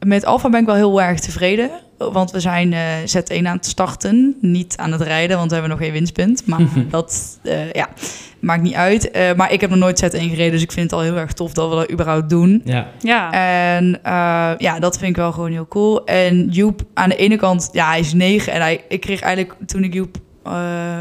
met Alfa ben ik wel heel erg tevreden. Want we zijn eh, Z1 aan het starten. Niet aan het rijden, want we hebben nog geen winstpunt. Maar dat eh, ja, maakt niet uit. Eh, maar ik heb nog nooit Z1 gereden. Dus ik vind het al heel erg tof dat we dat überhaupt doen.
Ja,
Ja.
En eh, ja, dat vind ik wel gewoon heel cool. En Joep, aan de ene kant, ja, hij is negen. En hij, ik kreeg eigenlijk, toen ik Joep eh,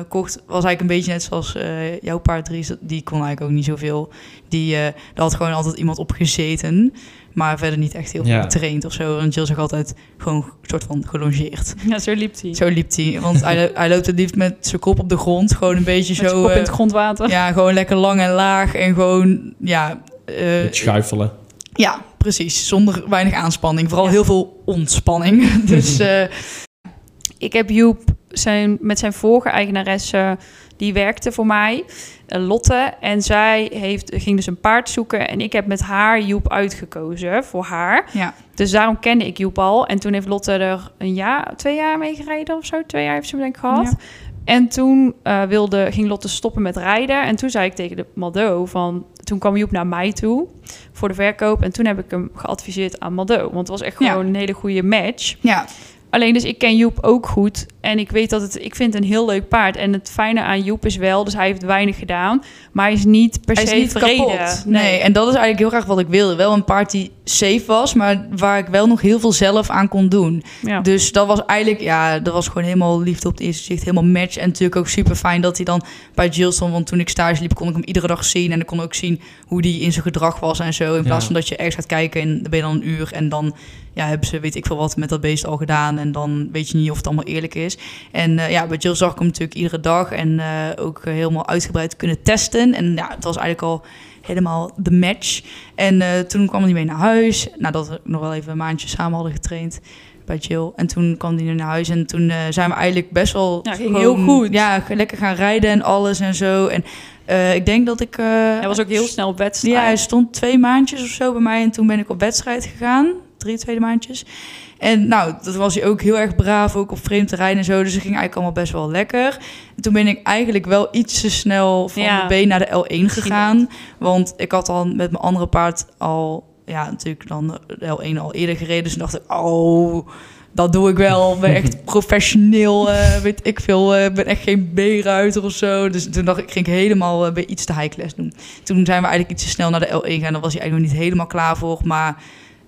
kocht, was eigenlijk een beetje net zoals eh, jouw paard Dries. Die kon eigenlijk ook niet zoveel. Die, eh, daar had gewoon altijd iemand op gezeten. Maar verder niet echt heel veel
Ja.
getraind of zo. Want Jill zag altijd gewoon een soort van gelongeerd.
ja, zo liep hij.
Zo liep hij. Want hij, lo- hij loopt het liefst met zijn kop op de grond. Gewoon een
Met
beetje zo...
zijn kop in het
eh,
grondwater.
ja, gewoon lekker lang en laag. En gewoon, ja... eh,
het schuifelen.
ja, precies. Zonder weinig aanspanning. Vooral
Ja.
heel veel ontspanning. dus eh,
Ik heb Joep zijn, met zijn vorige eigenares, eh, die werkte voor mij, eh, Lotte. En zij heeft, ging dus een paard zoeken. En ik heb met haar Joep uitgekozen voor haar.
ja.
Dus daarom kende ik Joep al. En toen heeft Lotte er een jaar, twee jaar mee gereden of zo. Twee jaar heeft ze hem denk ik gehad.
Ja.
En toen eh, wilde, ging Lotte stoppen met rijden. En toen zei ik tegen de Mado van... Toen kwam Joep naar mij toe voor de verkoop. En toen heb ik hem geadviseerd aan Mado. Want het was echt
Ja.
gewoon een hele goede match.
ja.
Eh, Alleen dus ik ken Joep ook goed. En ik weet dat het... Ik vind het een heel leuk paard. En het fijne aan Joep is wel... Dus hij heeft weinig gedaan. Maar hij is niet per
Hij is
se
niet
vrede.
kapot. Nee. en dat is eigenlijk heel graag wat ik wilde. Wel een paard die safe was, maar waar ik wel nog heel veel zelf aan kon doen.
Ja.
Dus dat was eigenlijk, ja, dat was gewoon helemaal liefde op het eerste gezicht. Helemaal match. En natuurlijk ook super fijn dat hij dan bij Jill stond. Want toen ik stage liep, kon ik hem iedere dag zien. En ik kon ook zien hoe die in zijn gedrag was en zo. In plaats
Ja.
van dat je ergens gaat kijken en dan ben je dan een uur. En dan ja, hebben ze weet ik veel wat met dat beest al gedaan. En dan weet je niet of het allemaal eerlijk is. En eh, ja, bij Jill zag ik hem natuurlijk iedere dag. En eh, ook eh, helemaal uitgebreid kunnen testen. En ja, het was eigenlijk al helemaal de match. En eh, toen kwam hij mee naar huis. Nadat we nog wel even een maandje samen hadden getraind bij Jill. En toen kwam hij naar huis. En toen eh, zijn we eigenlijk best wel...
Ja, ging heel goed.
Ja, g- lekker gaan rijden en alles en zo. En eh, ik denk dat ik... eh,
Hij was ook heel snel op wedstrijd.
ja, hij stond twee maandjes of zo bij mij en toen ben ik op wedstrijd gegaan. Drie tweede maandjes. En nou, dat was hij ook heel erg braaf, ook op vreemd terrein en zo. Dus het ging eigenlijk allemaal best wel lekker. En toen ben ik eigenlijk wel iets te snel van
Ja.
de B naar de L1 gegaan. Want ik had al met mijn andere paard al, ja, natuurlijk dan de L1 al eerder gereden. Dus toen dacht ik, oh, dat doe ik wel. Ik ben echt professioneel, eh, weet ik veel. eh, Ik ben echt geen B-ruiter of zo. Dus toen dacht ik, ging ik helemaal eh, bij iets te high class doen. Toen zijn we eigenlijk iets te snel naar de L1 gegaan. Daar was hij eigenlijk nog niet helemaal klaar voor. Maar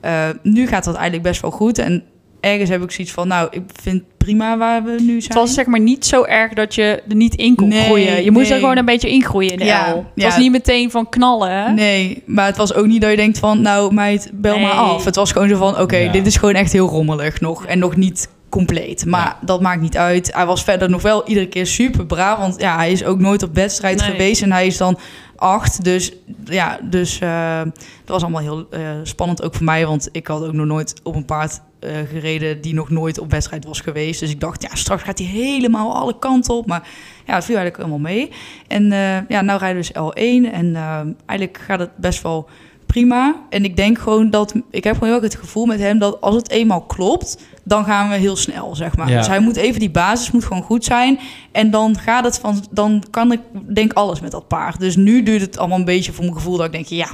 eh, nu gaat dat eigenlijk best wel goed. En ergens heb ik zoiets van, nou, ik vind prima waar we nu
Het
zijn.
was zeg maar niet zo erg dat je er niet in kon
Nee,
groeien. Je moest er
nee.
gewoon een beetje ingroeien in de
Ja,
L. Het
ja.
was niet meteen van knallen. hè?
Nee, maar het was ook niet dat je denkt van, nou meid, bel
Nee.
maar af. Het was gewoon zo van, oké,
Ja.
dit is gewoon echt heel rommelig nog. En nog niet compleet. Maar dat maakt niet uit. Hij was verder nog wel iedere keer super braaf. Want ja, hij is ook nooit op wedstrijd
Nee.
geweest. En hij is dan acht. Dus ja, dus eh, dat was allemaal heel eh, spannend ook voor mij. Want ik had ook nog nooit op een paard eh, gereden die nog nooit op wedstrijd was geweest. Dus ik dacht, ja, straks gaat hij helemaal alle kanten op. Maar ja, het viel eigenlijk helemaal mee. En eh, ja, nou rijden we dus L1 en eh, eigenlijk gaat het best wel prima. En ik denk gewoon dat, ik heb gewoon heel erg het gevoel met hem dat als het eenmaal klopt, dan gaan we heel snel, zeg maar.
Ja.
Dus hij moet even, die basis moet gewoon goed zijn. En dan gaat het van, dan kan ik, denk alles met dat paard. Dus nu duurt het allemaal een beetje voor mijn gevoel dat ik denk, ja,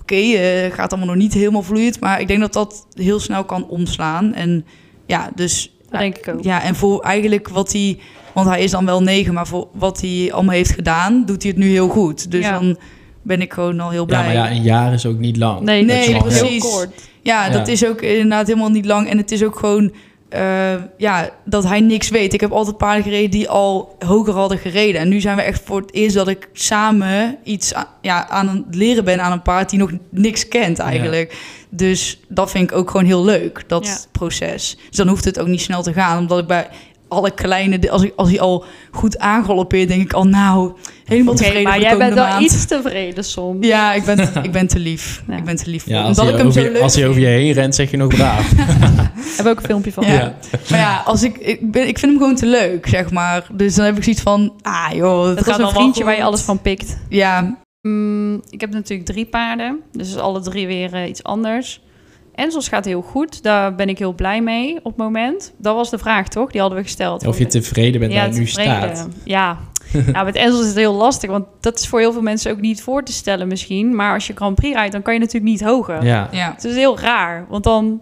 oké, eh, gaat allemaal nog niet helemaal vloeiend. Maar ik denk dat dat heel snel kan omslaan. En ja, dus
Dat denk ik ook.
ja, en voor eigenlijk wat hij... Want hij is dan wel negen, maar voor wat hij allemaal heeft gedaan... doet hij het nu heel goed. Dus
Ja.
dan ben ik gewoon al heel blij.
Ja, maar ja, een jaar is ook niet lang.
Nee,
Nee,
dat is wel
precies.
Heel kort.
Ja,
Ja.
dat is ook inderdaad helemaal niet lang. En het is ook gewoon eh, ja, dat hij niks weet. Ik heb altijd paarden gereden die al hoger hadden gereden. En nu zijn we echt voor het eerst dat ik samen iets a- ja, aan het leren ben aan een paard die nog niks kent eigenlijk. Dus dat vind ik ook gewoon heel leuk, dat
Ja.
proces. Dus dan hoeft het ook niet snel te gaan, omdat ik bij alle kleine, de- als, ik, als hij al goed aangaloppeert, denk ik al, nou, helemaal
Oké,
tevreden.
maar
voor de
jij bent
komende
wel
maand.
iets tevreden soms.
Ja, ik ben, ik ben te lief.
Ja.
Ik ben te lief. voor
Ja,
hem.
als, hij,
omdat ik hem
over
zo
je,
leuk
als hij over je heen rent, zeg je nog braaf.
Daar hebben we ook een filmpje van.
Ja. Maar ja, als ik, ik, ben, ik vind hem gewoon te leuk, zeg maar. Dus dan heb ik zoiets van, ah joh,
Dat
het
was
gaat
een
allemaal
vriendje waar je
goed.
alles van pikt.
Ja,
Mm, ik heb natuurlijk drie paarden. Dus alle drie weer eh, iets anders. Enzels gaat heel goed. Daar ben ik heel blij mee op het moment. Dat was de vraag, toch? Die hadden we gesteld.
Of je tevreden bent waar je nu
tevreden.
staat.
Ja, nou, met Enzo is het heel lastig, want dat is voor heel veel mensen ook niet voor te stellen misschien. Maar als je Grand Prix rijdt, dan kan je natuurlijk niet hoger.
Ja,
ja.
Het is heel raar, want dan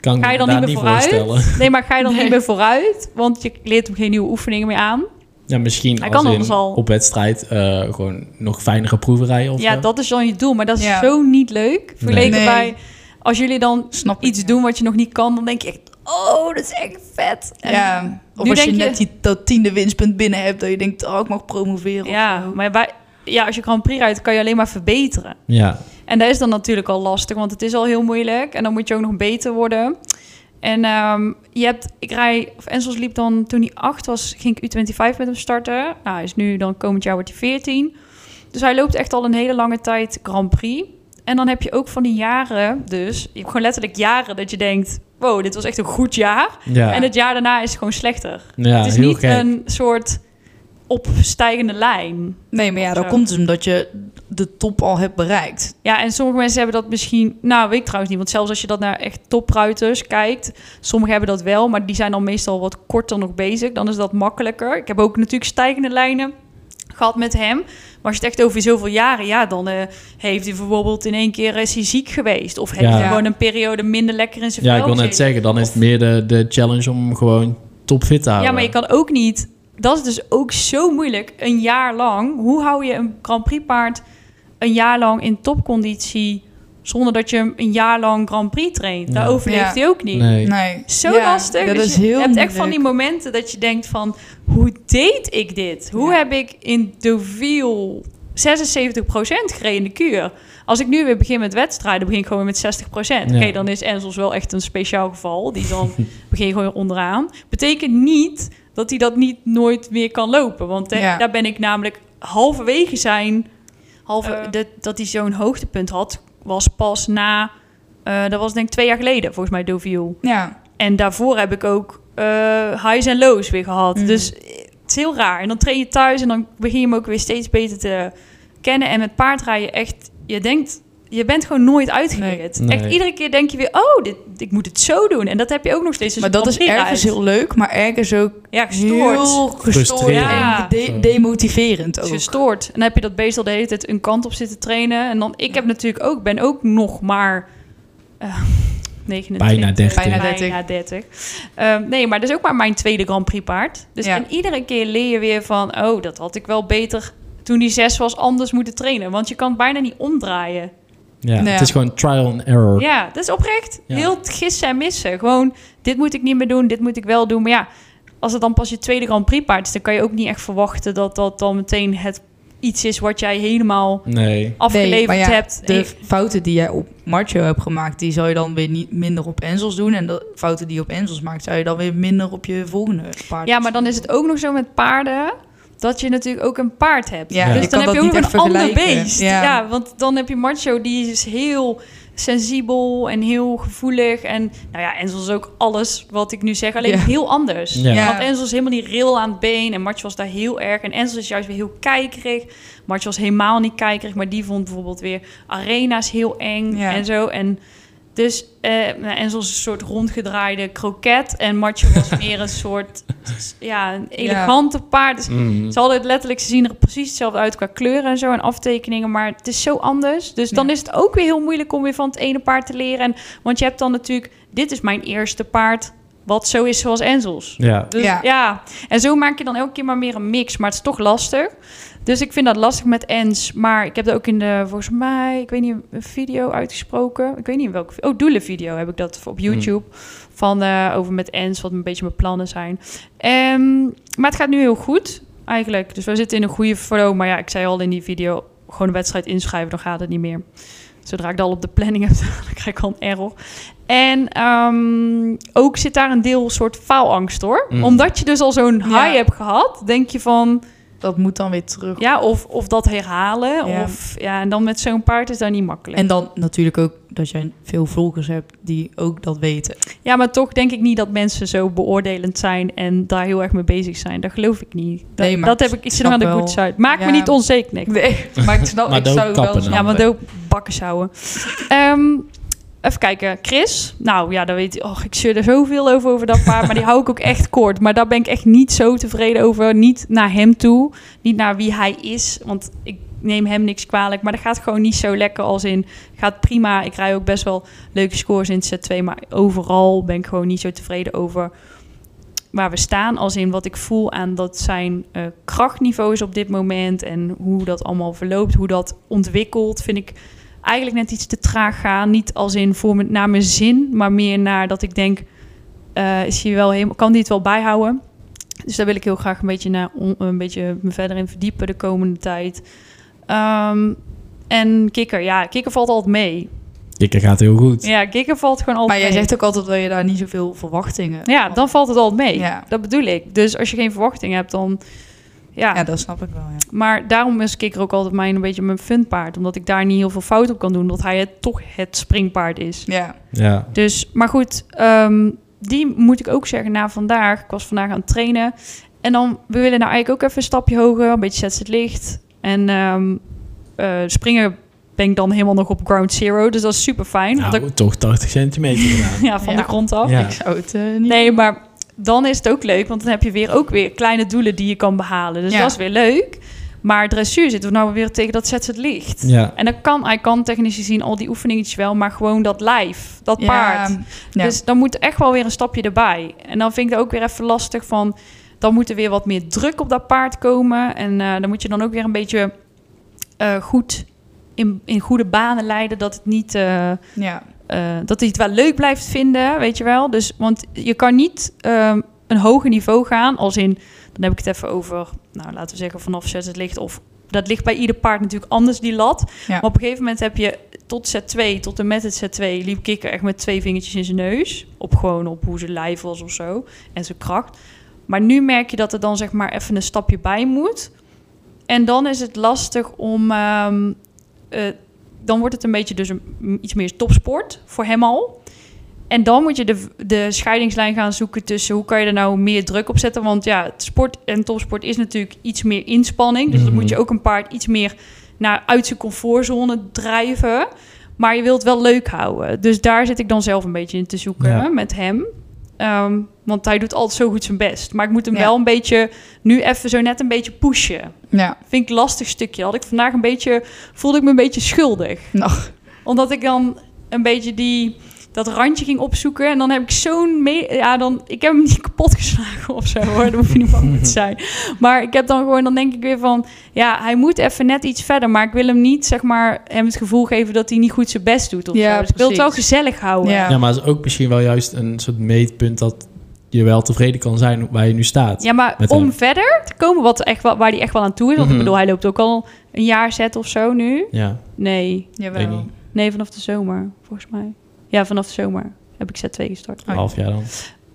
kan ik
ga je dan
me
niet
niet
meer vooruit.
voorstellen.
Nee, maar ga je dan
Nee.
niet meer vooruit, want je leert hem geen nieuwe oefeningen meer aan.
Ja, misschien
Hij
als
kan
in
anders al.
op wedstrijd eh, gewoon nog fijnere proeven rijden of
Ja,
zo.
dat is dan je doel, maar dat is
Ja.
zo niet leuk. Vergeleken
Nee.
bij, als jullie dan
snap ik,
iets
ja.
doen wat je nog niet kan, dan denk je echt, oh, dat is echt vet. En-
Ja, of
Nu
als je,
denk je-
net die, dat tiende winstpunt binnen hebt, dat je denkt, oh, ik mag promoveren.
ja
of zo.
maar bij, ja, als je Grand Prix rijdt, kan je alleen maar verbeteren.
Ja,
En dat is dan natuurlijk al lastig, want het is al heel moeilijk. En dan moet je ook nog beter worden. En ehm, je hebt, ik rij, of Ensels liep dan toen hij 8 was, ging ik U25 met hem starten. Nou, hij is nu, dan komend jaar wordt hij 14. Dus hij loopt echt al een hele lange tijd Grand Prix. En dan heb je ook van die jaren, dus je hebt gewoon letterlijk jaren dat je denkt: wow, dit was echt een goed jaar.
ja.
En het jaar daarna is gewoon slechter.
ja
het is
heel
niet
gek.
een soort opstijgende lijn.
Nee, maar ja, dat
Zo.
komt dus omdat je de top al hebt bereikt.
Ja, en sommige mensen hebben dat misschien... Nou, weet ik trouwens niet. Want zelfs als je dat naar echt topruiters kijkt... Sommigen hebben dat wel, maar die zijn dan meestal wat korter nog bezig. Dan is dat makkelijker. Ik heb ook natuurlijk stijgende lijnen. gehad met hem. Maar als je het echt over zoveel jaren, ja, dan eh, heeft hij bijvoorbeeld in één keer is hij ziek geweest. Of heeft
Ja.
hij
Ja.
gewoon een periode minder lekker in zijn
Ja,
vel
ik wil net
gezeten.
zeggen, dan is het meer de, de challenge om hem gewoon topfit te houden.
Ja, maar je kan ook niet. Dat is dus ook zo moeilijk. Een jaar lang. Hoe hou je een Grand Prix paard een jaar lang in topconditie zonder dat je hem een jaar lang Grand Prix traint?
Ja.
Daar overleeft
Ja.
hij ook niet.
Nee.
Nee.
Zo
Ja,
lastig.
Dat
Dus
is
je
heel
hebt echt van die
moeilijk.
momenten dat je denkt van... Hoe deed ik dit? Hoe
Ja.
heb ik in Deauville 76% gereden in de kuur? Als ik nu weer begin met wedstrijden, begin ik gewoon weer met 60%. Oké,
Ja.
dan is Enzels wel echt een speciaal geval. Die dan begin je gewoon weer onderaan. Betekent niet dat hij dat niet nooit meer kan lopen. Want hè,
Ja.
daar ben ik namelijk halverwege zijn... Halve,
Eh.
dat, dat hij zo'n hoogtepunt had, was pas na... eh, dat was denk ik twee jaar geleden, volgens mij, Deauville.
Ja.
En daarvoor heb ik ook eh highs en lows weer gehad.
Mhm.
Dus eh, het is heel raar. En dan train je thuis en dan begin je hem ook weer steeds beter te kennen. En met paardrijden echt, je denkt, je bent gewoon nooit uitgeleerd.
Nee.
Echt iedere keer denk je weer, oh, dit, ik moet het zo doen. En dat heb je ook nog steeds. Dus
maar
je
dat is
komt weer
ergens
uit.
heel leuk, maar ergens ook
ja, gestoord.
heel gestoord
Frustrerend.
Ja.
en de- demotiverend ook.
gestoord. En dan heb je dat beest al de hele tijd een kant op zitten trainen. En dan, ik heb natuurlijk ook, ben ook nog maar eh, 29.
Bijna 30.
Bijna 30.
Bijna 30. Ehm, nee, maar dat is ook maar mijn tweede Grand Prix paard. Dus
Ja.
en iedere keer leer je weer van, oh, dat had ik wel beter toen die zes was anders moeten trainen. Want je kan het bijna niet omdraaien.
Ja,
Nou ja.
Het is gewoon trial and error.
Ja, dat is oprecht.
Ja.
Heel het gissen en missen. Gewoon, dit moet ik niet meer doen, dit moet ik wel doen. Maar ja, als het dan pas je tweede Grand Prix paard is, dan kan je ook niet echt verwachten dat dat dan meteen het iets is wat jij helemaal
Nee.
afgeleverd
Nee, maar ja,
hebt. En
De
je-
fouten die jij op Marcio hebt gemaakt, die zou je dan weer niet minder op Enzels doen. En de fouten die je op Enzels maakt, zou je dan weer minder op je volgende paard.
ja, maar dan is het ook nog zo met paarden dat je natuurlijk ook een paard hebt.
Ja,
je
dus dan
kan
heb je
dat
ook
niet
nog een
echt
ander
vergelijken.
beest. Ja.
Ja.
want dan heb je Macho, die is heel sensibel en heel gevoelig. En nou ja, Enzel is ook alles wat ik nu zeg, alleen
Ja.
heel anders.
Ja.
Ja.
Want Enzel is helemaal niet ril aan het been en Macho was daar heel erg. En Enzel is juist weer heel kijkerig. Macho was helemaal niet kijkerig, maar die vond bijvoorbeeld weer arena's heel eng
Ja.
en zo. En dus eh nou, Enzel is een soort rondgedraaide kroket en Macho was meer een soort ja, een elegante paard. Dus
Mm.
ze hadden het letterlijk, ze zien er precies hetzelfde uit qua kleuren en zo en aftekeningen, maar het is zo anders. Dus dan
Ja.
is het ook weer heel moeilijk om weer van het ene paard te leren. En, want je hebt dan natuurlijk, dit is mijn eerste paard, wat zo is zoals Enzels.
Ja.
Dus, ja.
Ja.
en zo maak je dan elke keer maar meer een mix, maar het is toch lastig. Dus ik vind dat lastig met Ens, maar ik heb dat ook in de, volgens mij, ik weet niet, een video uitgesproken. Ik weet niet in welke, oh, doelenvideo heb ik dat op YouTube, van eh, over met Ens, wat een beetje mijn plannen zijn. Ehm, maar het gaat nu heel goed, eigenlijk. Dus we zitten in een goede flow, maar ja, ik zei al in die video, gewoon een wedstrijd inschrijven, dan gaat het niet meer. Zodra ik dat al op de planning heb, dan krijg ik al een error. En ehm, ook zit daar een deel soort faalangst hoor.
Mm.
Omdat je dus al zo'n high
Ja.
hebt gehad, denk je van
Dat moet dan weer terug.
ja, of, of dat herhalen.
Ja.
Of ja, en dan met zo'n paard is dat niet makkelijk.
En dan natuurlijk ook dat jij veel volgers hebt die ook dat weten.
Ja, maar toch denk ik niet dat mensen zo beoordelend zijn en daar heel erg mee bezig zijn. Dat geloof ik niet. Dat,
Nee, maar
dat heb
ik
ik iets
snap
aan de
wel-
good side. Maak me
Ja.
niet onzeker, Nick.
Nee, maar ik snap,
Maar
ik
dan
zou
kappen
wel...
dan.
Ja,
snappen.
want ook bakken zouden. Ehm, even kijken, Chris. Nou ja, dan weet je. Och, ik zeur er zoveel over over dat paard, maar die hou ik ook echt kort. Maar daar ben ik echt niet zo tevreden over. Niet naar hem toe, niet naar wie hij is, want ik neem hem niks kwalijk. Maar dat gaat gewoon niet zo lekker als in. Gaat prima. Ik rij ook best wel leuke scores in het Z2, maar overal ben ik gewoon niet zo tevreden over. Waar we staan, als in wat ik voel aan dat zijn eh, krachtniveau is op dit moment en hoe dat allemaal verloopt, hoe dat ontwikkelt, vind ik eigenlijk net iets te traag gaan. Niet als in voor mijn, naar mijn zin, maar meer naar dat ik denk, eh, is hij wel helemaal, kan die het wel bijhouden? Dus daar wil ik heel graag een beetje, naar, on- een beetje me verder in verdiepen de komende tijd. Ehm, en kikker, ja, kikker valt altijd mee.
Kikker gaat heel goed.
Ja, kikker valt gewoon altijd
Maar jij
mee.
zegt ook altijd dat je daar niet zoveel verwachtingen...
Ja, dan valt het altijd mee.
Ja.
Dat bedoel ik. Dus als je geen verwachting hebt, dan... Ja,
Ja, dat snap ik wel, ja.
maar daarom is kikker ook altijd mijn, een beetje mijn funpaard. Omdat ik daar niet heel veel fout op kan doen. Omdat hij het, toch het springpaard is.
Ja,
Ja.
Dus, maar goed, ehm, die moet ik ook zeggen na vandaag. Ik was vandaag aan het trainen. En dan, we willen nou eigenlijk ook even een stapje hoger. Een beetje zet het licht. En ehm, eh, springen ben ik dan helemaal nog op ground zero. Dus dat is super fijn.
Nou,
ik,
toch 80 centimeter gedaan.
ja, van
Ja.
de grond af.
Ja.
ik zou het eh, niet...
Nee, maar dan is het ook leuk, want dan heb je weer ook weer kleine doelen die je kan behalen. Dus
Ja.
dat is weer leuk. Maar dressuur zitten we nou weer tegen dat zet het licht.
Ja.
En dan kan hij kan technici zien al die oefeningetjes wel, maar gewoon dat lijf, dat
Ja,
paard.
ja.
Dus dan moet echt wel weer een stapje erbij. En dan vind ik het ook weer even lastig van, dan moet er weer wat meer druk op dat paard komen. En eh, dan moet je dan ook weer een beetje eh, goed in, in goede banen leiden, dat het niet... eh,
ja.
eh, dat hij het wel leuk blijft vinden, weet je wel. Dus, want je kan niet ehm, een hoger niveau gaan, als in, dan heb ik het even over, nou laten we zeggen vanaf zet het licht of dat ligt bij ieder paard natuurlijk anders, die lat.
Ja.
Maar op een gegeven moment heb je tot set 2, tot en met het set 2, liep Kikker echt met twee vingertjes in zijn neus. Op gewoon op hoe zijn lijf was of zo. En zijn kracht. Maar nu merk je dat er dan zeg maar even een stapje bij moet. En dan is het lastig om... ehm, eh, dan wordt het een beetje dus een, iets meer topsport voor hem al. En dan moet je de, de scheidingslijn gaan zoeken tussen hoe kan je er nou meer druk op zetten. Want ja, het sport en topsport is natuurlijk iets meer inspanning. Dus
Mhm.
dan moet je ook een paard iets meer naar uit zijn comfortzone drijven. Maar je wilt wel leuk houden. Dus daar zit ik dan zelf een beetje in te zoeken
Ja.
hè, met hem. Ehm, want hij doet altijd zo goed zijn best. Maar ik moet hem
Ja.
wel een beetje, nu even zo net een beetje pushen.
ja.
Vind ik een lastig stukje. Had ik vandaag een beetje, voelde ik me een beetje schuldig
Nou,
omdat ik dan een beetje die, dat randje ging opzoeken. En dan heb ik zo'n... me- Ja, dan, ik heb hem niet kapot geslagen of zo, hoor. Daar hoef je niet bang voor te zijn. Maar ik heb dan gewoon... Dan denk ik weer van... Ja, hij moet even net iets verder. Maar ik wil hem niet, zeg maar... Hem het gevoel geven dat hij niet goed zijn best doet of
Ja,
zo. Dus ik wil het wel
precies.
gezellig houden.
Ja.
Ja.
Ja, maar het is ook misschien wel juist een soort meetpunt dat je wel tevreden kan zijn waar je nu staat.
maar
Met
om
hem.
verder te komen wat echt, wel- waar hij echt wel aan toe is. Want
Mhm.
ik bedoel, hij loopt ook al een jaar zet of zo nu.
Ja,
Nee.
weet
jawel.
niet.
Nee, vanaf de zomer, volgens mij. Ja, vanaf de zomer heb ik zet 2 gestart.
Een half jaar dan.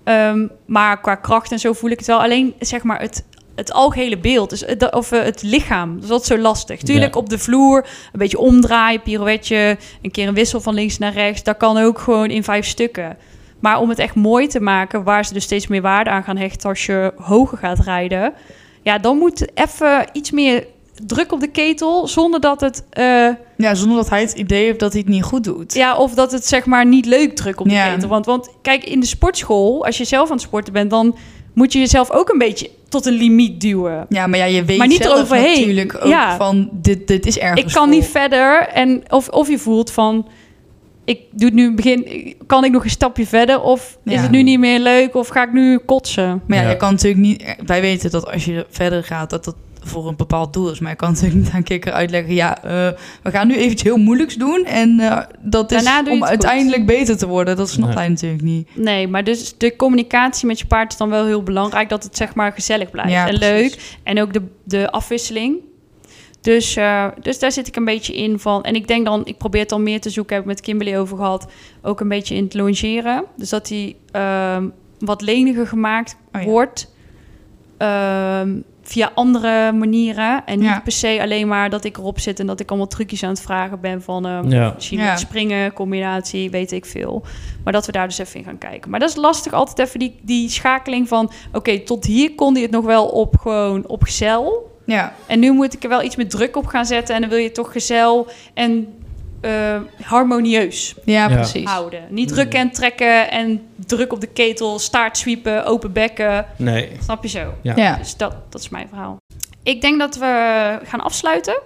Ehm, maar qua kracht en zo voel ik het wel. Alleen zeg maar het, het algehele beeld, dus het, of eh, het lichaam, dus dat is zo lastig. Tuurlijk
Ja.
op de vloer, een beetje omdraaien, pirouetje, een keer een wissel van links naar rechts. Dat kan ook gewoon in vijf stukken. Maar om het echt mooi te maken, waar ze dus steeds meer waarde aan gaan hechten als je hoger gaat rijden. Ja, dan moet even iets meer druk op de ketel, zonder dat het... eh,
Ja, zonder dat hij het idee heeft dat hij het niet goed doet.
ja, of dat het zeg maar niet leuk druk op de
Ja.
ketel. Want, want kijk, in de sportschool, als je zelf aan het sporten bent, dan moet je jezelf ook een beetje tot een limiet duwen.
Ja, maar ja, je weet
Maar niet
zelf
eroverheen.
natuurlijk ook
Ja.
van dit, dit is ergens
Ik kan
voor.
niet verder. En of, of je voelt van, ik doe het nu begin, kan ik nog een stapje verder? Of
Ja.
is het nu niet meer leuk? Of ga ik nu kotsen?
Maar ja,
Ja.
je kan natuurlijk niet... Wij weten dat als je verder gaat, dat dat voor een bepaald doel is. Maar je kan natuurlijk niet aan kikker uitleggen... ja, eh, we gaan nu even iets heel moeilijks doen... en eh, dat is
Daarna doe je
om
het goed.
uiteindelijk beter te worden. Dat snapt
Nee.
hij natuurlijk niet.
Nee, maar dus de communicatie met je paard is dan wel heel belangrijk. Dat het zeg maar gezellig blijft
Ja,
en
precies.
leuk. En ook de, de afwisseling. Dus, eh, dus daar zit ik een beetje in van. En ik denk dan, ik probeer het dan meer te zoeken. Heb ik met Kimberly over gehad. Ook een beetje in het longeren. Dus dat die ehm, wat leniger gemaakt
Oh ja.
wordt. ehm, via andere manieren. En niet
Ja.
per se alleen maar dat ik erop zit en dat ik allemaal trucjes aan het vragen ben van... ehm,
Ja.
Misschien
Ja.
met springen, combinatie, weet ik veel. Maar dat we daar dus even in gaan kijken. Maar dat is lastig altijd even die, die schakeling van... Oké, tot hier kon hij het nog wel op gewoon op gezel.
Ja,
En nu moet ik er wel iets meer druk op gaan zetten. En dan wil je toch gezel en eh, harmonieus
ja,
Ja.
precies.
houden. Niet druk en trekken en druk op de ketel, staart sweepen, open bekken.
Nee.
Snap je zo?
Ja.
Ja.
Dus dat, dat is mijn verhaal. Ik denk dat we gaan afsluiten.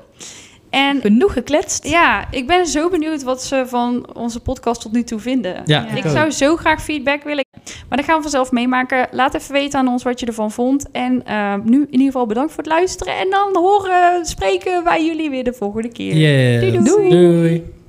En
Genoeg gekletst.
ja, ik ben zo benieuwd wat ze van onze podcast tot nu toe vinden.
Ja,
ik
ook.
zou zo graag feedback willen. Maar dat gaan we vanzelf meemaken. Laat even weten aan ons wat je ervan vond. En eh, nu in ieder geval bedankt voor het luisteren. En dan horen, spreken wij jullie weer de volgende keer.
Yes.
Doei, doei.
Doei.